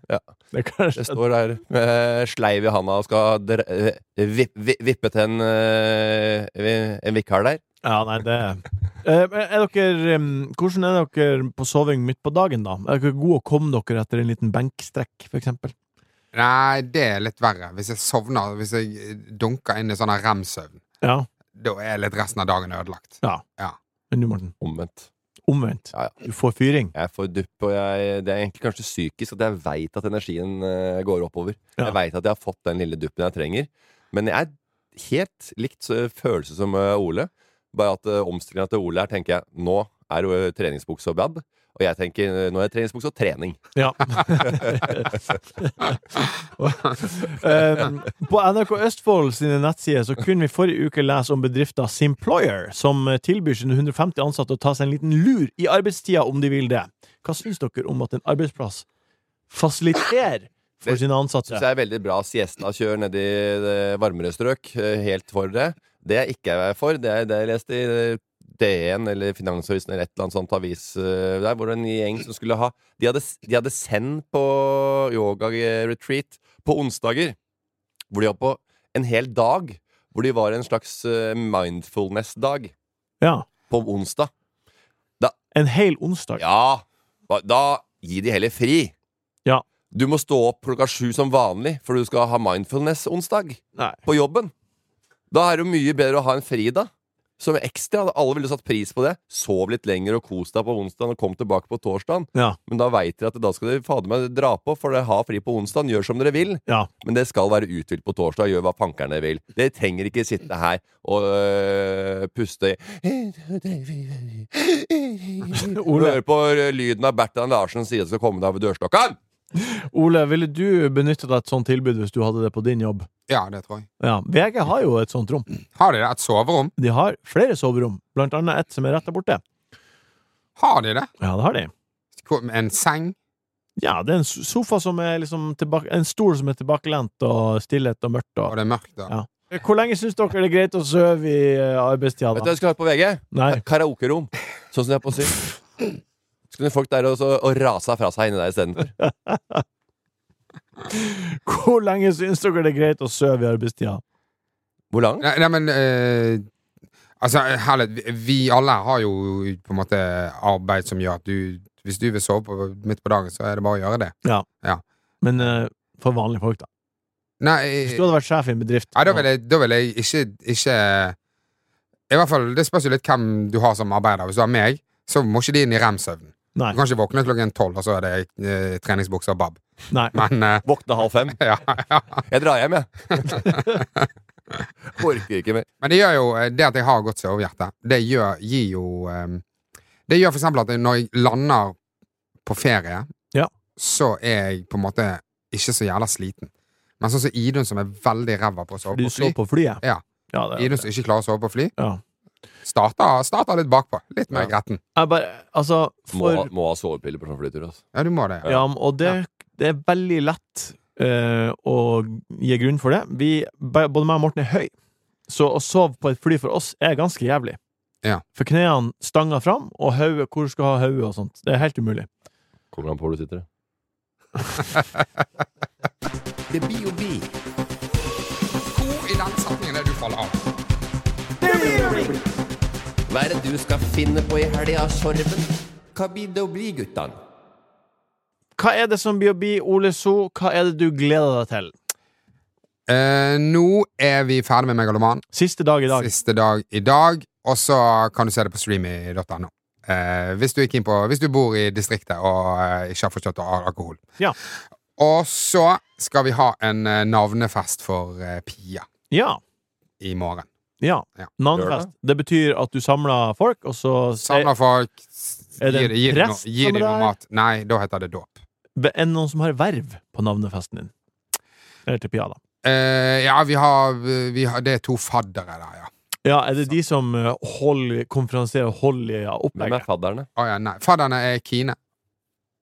Det er kanskje
Jeg står her med sleiv i handa og skal dre- eh, vip, vi- vippe til en, eh, vi- en vikar der.
Ja, nei, det Eh, men er dere, em, Hvordan er dere på soving midt på dagen, da? Er dere gode å komme dere etter en liten benkstrekk, for eksempel?
Nei, det er litt verre. Hvis jeg sovner, hvis jeg eh, dunker inn i sånn her rem-søvn,
Ja.
da er litt resten av dagen ødelagt.
Men du, Morten?
Omvendt.
Omvendt.
Ja,
Du får fyring.
Jeg får dupp, og jeg, det er egentlig kanskje psykisk at jeg veit at energien eh, går oppover.
Ja.
Jeg veit at jeg har fått den lille duppen jeg trenger. Men jeg er helt likt eh, følelse som eh, Ole. Bare at uh, omstillinga til Ole her tenker jeg nå er jo eh, treningsbukse og bad. Og jeg tenker eh, nå er det treningsbukse og trening.
Ja. Em, Ehm, på NRK Østfold sine nettsider så kunne vi forrige uke lese om bedrifta Simployer, som tilbyr sine 150 ansatte å ta seg en liten lur i arbeidstida om de vil det. Hva syns dere om at en arbeidsplass fasiliterer for sine
Syns
ansatte?
jeg er veldig bra siesta-kjør nedi det varmere strøk. eh, Helt for det. Det jeg ikke er for, det er det jeg leste i eh, DN eller Finansavisen eller et eller annet sånt avis eh, der, hvor en gjeng som skulle ha De hadde, de hadde send på yoga-retreat på onsdager, hvor de var på en hel dag. Hvor de var en slags eh, mindfulness-dag
Ja.
på onsdag.
En hel onsdag.
Ja! hva- Da gi de heller fri.
Ja.
Du må stå opp klokka sju som vanlig, for du skal ha mindfulness-onsdag
Nei.
på jobben. Da er det jo mye bedre å ha en fridag. Som ekstra, Alle ville satt pris på det. Sov litt lenger og kos deg på onsdag og kom tilbake på torsdag.
Ja.
Men da veit dere at da skal dere fader meg dra på, for dere har fri på onsdag. Gjør som dere vil.
Ja.
Men det skal være uthvilt på torsdag. Gjør hva pankerne vil. Dere trenger ikke sitte her og øh, puste i
Ole,
Hør på øh, lyden av Bertrand Larsen sier det skal komme deg over dørstokka!
Ole, ville du benyttet deg av et sånt tilbud hvis du hadde det på din jobb?
Ja, det tror jeg.
Ja. VG har jo et sånt rom.
Har de det? Et soverom?
De har flere soverom, blant annet et som er rett der borte.
Har de det?
Ja, det har de.
Hvor- En seng?
Ja, det er en so- sofa som er liksom tilbake, En stol som er tilbakelent og stillhet og mørkt
Og
og
det er mørkt der.
Ja. Hvor lenge syns dere det er greit å sove i eh, arbeidstida,
Vet du hva
da?
jeg skal høre på VG?
Nei.
Karaokerom. Sånn som jeg er på å si. Så kunne folk der også og rasa fra seg inni der istedenfor.
Hvor lenge syns dere det er greit å sove i arbeidstida?
Hvor lang?
Nei, nei men eh, Altså, herlig, vi- vi alle har jo på en måte arbeid som gjør at du Hvis du vil sove på, midt på dagen, så er det bare å gjøre det.
Men eh, for vanlige folk, da.
Nei,
Hvis du hadde vært sjef i en bedrift
Nei, da vil jeg, da vil jeg ikke, ikke I hvert fall, Det spørs jo litt hvem du har som arbeider. Hvis du har meg, så må ikke de inn i rem-søvnen.
Nei.
Du kan ikke våkne klokken tolv, og så er det eh, treningsbukse og bab.
Nei.
Men eh,
Våkne halv fem.
ja, ja.
Jeg drar hjem, jeg. Orker ikke mer.
Men det gjør jo eh, det at jeg har godt sovehjerte, det gjør, gir jo eh, Det gjør for eksempel at når jeg lander på ferie,
Ja.
så er jeg på en måte ikke så jævla sliten. Men sånn som Idun, som er veldig ræva på å sove
Fordi
på
du sov
fly.
på flyet?
Ja.
Ja, det,
Idun som ikke klarer å sove på fly,
Ja.
starter, starter litt bakpå. Litt mer
Ja.
gretten.
Jeg bare, altså,
Må,
for,
ha- må ha sovepiller på sånn flytur. Altså.
Ja, du må det.
ja, og det, det er veldig lett eh, å gi grunn for det. Vi, be- både meg og Morten er høy, så å sove på et fly for oss er ganske jævlig.
Ja.
For knærne stanger fram, og hodet, hvor du skal ha hodet og sånt. Det er helt umulig.
Kommer an på hvor du sitter.
Det blir jo vi.
Hvor i den setningen er du faller av?
Hva er det du skal finne på i helga, Sorven? Hva blir det å bli, guttan?
Hva er det som blir å bli, Ole So? Hva er det du gleder deg til?
Eh, nå er vi ferdig med Megaloman.
Siste dag i dag.
Siste dag i dag. Og så kan du se det på streamy.no. Eh, hvis, du er keen på, hvis du bor i distriktet og eh, ikke har fått kjøtt og al- alkohol.
Ja.
Og så skal vi ha en eh, navnefest for eh, Pia
Ja.
i morgen.
ja.
Ja.
Navnefest. Det betyr at du samler folk, og så
Samler folk. s-
Eh, Er det
gir
en
de- gir de noe-
prest
Gir
som
de
er
noe
der?
mat. Nei, da heter det dåp.
Er det noen som har verv på navnefesten din? Eller til Pia, da.
Eh, ja, vi har, vi har Det er to faddere der, ja.
Ja, er det de som eh, holder, konferansierer og holder ja,
Hvem er
opplegget?
fadderne?
Å ja, nei. Fadderne er Kine,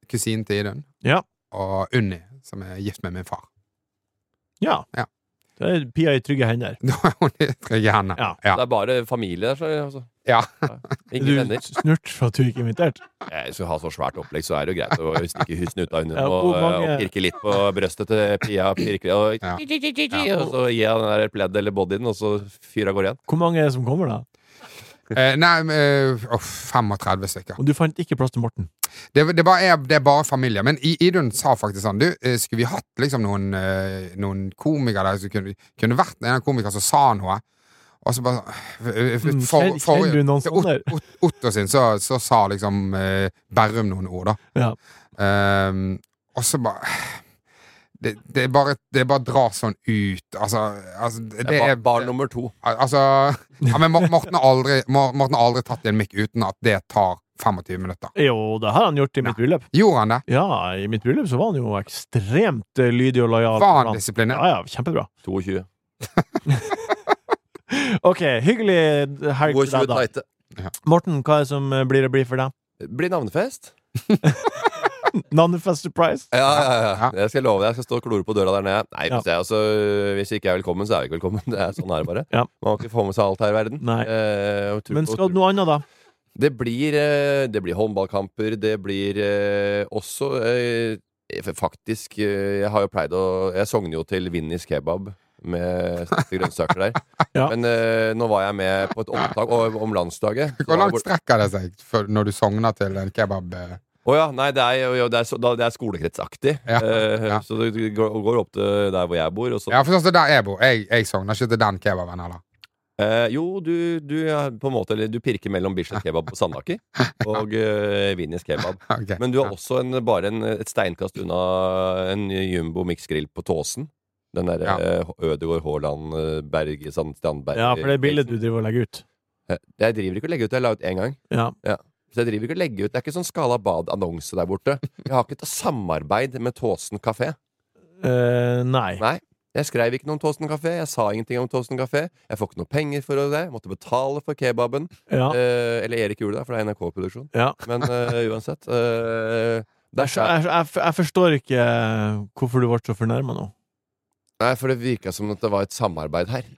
kusinen til Idun,
Ja.
og Unni, som er gift med min far.
ja.
Ja.
Da er Pia i trygge hender.
Da er hun i trygge hender.
Ja.
Ja.
Det er bare familie der. så- Altså.
Ja.
Er
Ingen
du
venner.
snurt for at du ikke er invitert?
Jeg skal ha så svært opplegg, så er det jo greit å stikke snuta under
Ja,
og, eh,
hvor mange-
og pirke litt på brøstet til Pia. Pirke, og,
Ja.
og så gi henne den der pleddet eller bodyen, og så fyra går igjen.
Hvor mange er det som kommer, da?
Eh, nei, men, eh, åh, 35 stykker.
Og du fant ikke plass til Morten.
Det, det, bare er, det er bare familie. Men I- Idun sa faktisk sånn Du, eh, skulle vi hatt liksom noen, eh, noen komikere der som kunne, kunne vært en av komikere som sa noe? Og så bare eh, for,
Mm,
for,
kjenner- kjenner du noen
til Ot-
sånne?
Ot- Otto sin, så, så sa liksom eh, Berrum noen ord, da.
Ja.
Ehm, og så bare det, det, er bare, det bare drar sånn ut. Altså, altså det,
Det er
er
ba- barn nummer to.
Altså ja, men Mor- Morten har aldri, Mor- Morten har aldri tatt i en mikk uten at det tar 25 minutter.
Jo, det har han gjort i mitt bryllup.
Gjorde han det?
Ja, i mitt bryllup så var han jo ekstremt eh, lydig og lojal.
Var han
Ja,
disiplinert?
ja, kjempebra.
22.
Ok, hyggelig helg til
22
deg, da.
tighte.
Morten, hva er det som eh, blir å bli for deg?
Blir navnefest.
Nannefest surprise.
Ja, ja,
Ja.
ja. Jeg skal love deg, jeg skal stå og klore på døra der nede. Nei,
Ja.
hvis, jeg, altså, hvis jeg ikke er velkommen, så er jeg ikke velkommen. Det er sånn er det bare.
Ja.
Man kan ikke få med seg alt her i verden.
Nei.
Eh, og tur-
Men
og
skal
tur-
du noe annet, da?
Det blir, eh, det blir håndballkamper, det blir eh, også eh, f- Faktisk, eh, jeg har jo pleid å Jeg sogner jo til Vinnies kebab med stekte grønnsaker der.
Ja.
Men eh, nå var jeg med på et opptak om, om landsdaget.
Hvor langt strekker det seg før, når du sogner til en kebab? eh?
Å ja, nei, det er, jo- jo, det er, så- da- det er skolekretsaktig.
Ja,
Eh,
ja.
Så det går, går opp til der hvor jeg bor. Og så,
Ja, for sånn som der jeg bor. Jeg, jeg sogner ikke til den kebaben heller.
eh, jo, du, du, er på en måte, eller, du pirker mellom Bislett kebab på Sandaker og eh, Vinnies kebab.
Ok.
Men du har også en, bare en, et steinkast unna en jumbo mixgrill på Tåsen. Den derre
Ja.
eh, Ødegård Haaland eh, Berg Sand- Strandberg
Ja, for det er bildet du driver og legger ut.
Eh, Jeg driver ikke og legger ut, det har jeg la ut én gang.
Ja.
Så jeg driver ikke og legger ut Det er ikke sånn Skala Bad-annonse der borte. Jeg har ikke et samarbeid med Tåsen kafé.
Eh, nei.
Nei. Jeg skrev ikke noe om Tåsen kafé. Jeg sa ingenting om Tåsen kafé. Jeg får ikke noe penger for det. Jeg måtte betale for kebaben.
Ja.
Eh, eller Erik gjorde det, for det er NRK-produksjon.
ja.
Men eh, uansett. eh, der
Jeg, jeg, jeg, jeg forstår ikke eh, hvorfor du ble så fornærma nå.
Nei, for det virka som at det var et samarbeid her.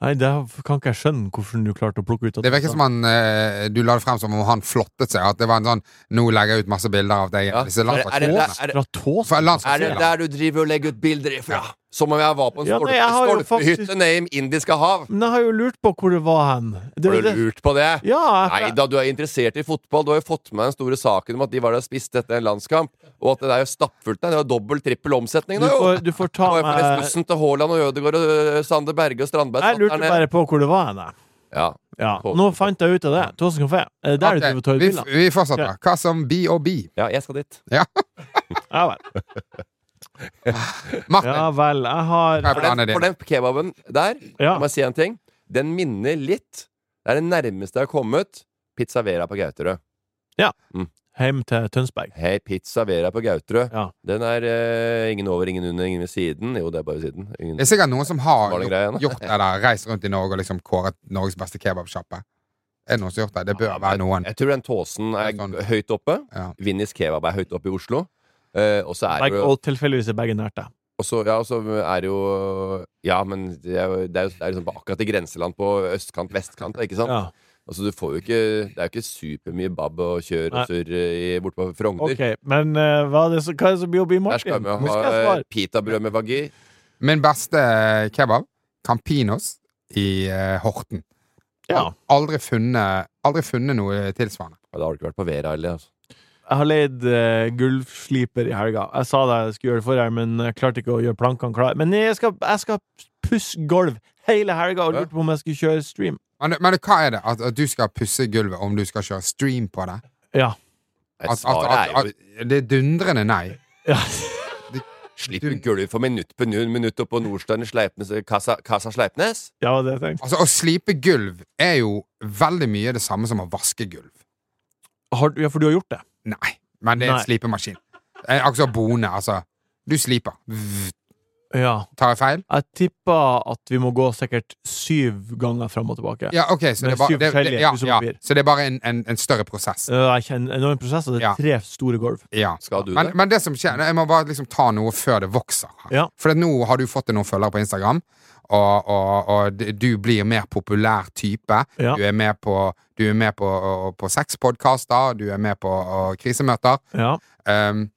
Nei, det kan ikke jeg skjønne hvordan du klarte å plukke ut at
Det virker som han eh, Du la det frem som om han flottet seg. At det var en sånn Nå legger jeg ut masse bilder av deg.
Ja.
Disse
Er det- er det-
landslagsspillerne.
er det-
Fra tås?
For
Er det
landslagsspillere.
der du driver og legger ut bilder ifra? Som om jeg var på en
Ja,
ja,
nei, jeg har jo
stolpehytte
faktisk-
nede i Indiske hav.
Men jeg har jo lurt på hvor det var hen. Det,
Har du
det,
lurt på det?
ja,
Nei
jeg,
da, du er interessert i fotball. Du har jo fått med den store saken om at de var der og spiste etter en landskamp. Og at det er jo stappfullt der. Det var dobbel, trippel omsetning
du,
da, jo.
får, du får ta
Det var jo for
meg
Rasmussen til Haaland og Ødegaard og øh, Sander Berge og Strandberg.
Jeg
satt
eh,
sånn der
lurte
nede.
bare på hvor det var hen. jeg.
Ja.
Ja.
Tåsen
Nå
kafé.
fant jeg ut av det. Tåsen kafé. Er det der
Ok,
du driver og tar ut
vi,
bilder?
vi fortsetter. Hva som BOB?
ja, jeg skal dit.
Ja vel.
Martin,
Ja vel. Jeg har
hva er
For den,
planen
for
din?
den kebaben der,
Ja.
må jeg si en ting, den minner litt Det er det nærmeste jeg har kommet Pizza Vera på Gauterød.
Hjem til Tønsberg.
Hei, Pizza Vera på Gauterød.
Ja.
Den er eh, ingen over, ingen under, ingen ved siden. Jo, det er bare ved siden. Ingen...
Det er sikkert noen som har
Var det greia, da?
gjort, gjort det der. Reist rundt i Norge og liksom kåret Norges beste kebabsjappe. Er det noen som har gjort det? Det bør være noen.
Jeg tror den Tåsen er
Det er sånn.
g- høyt oppe.
Ja.
Vinnis kebab er høyt oppe i Oslo. Eh, og så er det
Begge-
jo
Og tilfeldigvis er begge nært deg.
og så- ja, og så er det jo Ja, men det er jo, det er jo det er liksom på akkurat i grenseland på østkant, vestkant, ikke sant?
Ja.
Altså, du får jo ikke Det er jo ikke supermye babb og kjør
Nei.
og surr eh, i- borte på Frogner.
Ok, men eh, hva er det som, hva er det som blir å bli
Der
Martin?
skal vi
Nå
ha
skal jeg
eh,
svare.
pitabrød med vagi.
Min beste kebab? Campinos i eh, Horten.
Ja.
Aldri funnet, aldri funnet noe tilsvarende.
Ja, Da har du ikke vært på Vera heller, altså.
Jeg har leid eh, gulvsliper i helga. Jeg sa det jeg skulle gjøre det forrige, men jeg klarte ikke å gjøre plankene klare. Men jeg skal, jeg skal pusse gulv hele helga og lurte på om jeg skulle kjøre stream.
Men, men hva er det? At, at du skal pusse gulvet om du skal kjøre stream på det?
Ja.
Nei,
At, at,
Svaret er
at,
jo
at, det er dundrende nei.
ja.
Slipper gulvet for minutt på nu- minutt oppå Nordstrand i Sleipnes, kassa, kassa Sleipnes?
Ja, det jeg tenkte.
Altså, å slipe gulv er jo veldig mye det samme som å vaske gulv.
Har, du- ja, for du har gjort det.
Nei. Men det er
Nei.
en slipemaskin. Eh, Akkurat som bone, altså. Du sliper. Vv,
Ja.
Tar jeg feil?
Jeg tipper at vi må gå sikkert syv ganger fram og tilbake.
Ja, ok, så
Med
det er bare,
syv
det, det,
forskjellige
ja, ja,
husoppier.
så det er bare en, en, en større prosess.
Eh, Jeg kjenner enorm prosess, og det
Ja.
er tre store gulv.
Ja.
Skal du
Men,
det?
men det som skjer, jeg må bare liksom ta noe før det vokser.
Ja.
For at nå har du fått deg noen følgere på Instagram, og, og, og d- du blir mer populær type.
Ja.
Du er med på, du er med på, på sexpodkaster, du er med på og krisemøter.
Ja.
Um,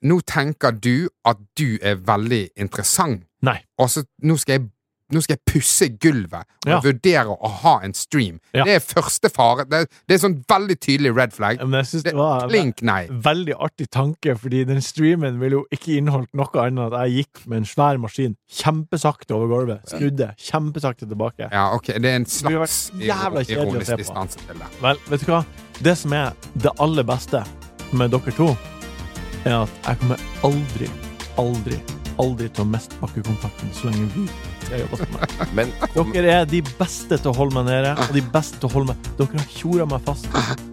nå tenker du at du er veldig interessant.
Nei.
Og så nå skal jeg nå skal jeg pusse gulvet og
Ja.
vurdere å ha en stream.
Ja.
Det er første fare. Det, det er sånn veldig tydelig red flag.
Men jeg syns
Det,
det var
klink nei.
veldig artig tanke, fordi den streamen ville jo ikke inneholdt noe annet enn at jeg gikk med en svær maskin kjempesakte over gulvet, snudde kjempesakte tilbake.
Ja, ok, det er en
ville vært
slags
jævla
iro-
kjedelig å se
ironisk
på.
distanse til det.
Vel, vet du hva? Det som er det aller beste med dere to, er at jeg kommer aldri, aldri, aldri til å miste bakkekontakten så lenge vi tre jobber sammen.
Men kom,
Dere er de beste til å holde meg nede, og de beste til å holde meg Dere har tjora meg fast,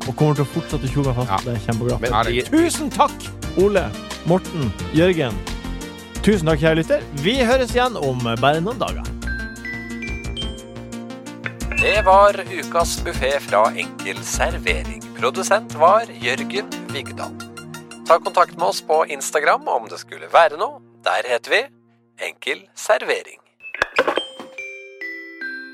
og kommer til å fortsette å tjore meg fast.
Ja.
Det er kjempebra.
men
Ja,
de,
det-
Tusen takk, Ole, Morten, Jørgen. Tusen takk, kjære lytter. Vi høres igjen om bare noen dager.
Det var ukas buffé fra Enkel servering. Produsent var Jørgen Vigdal. Ta kontakt med oss på Instagram om det skulle være noe. Der heter vi Enkel servering.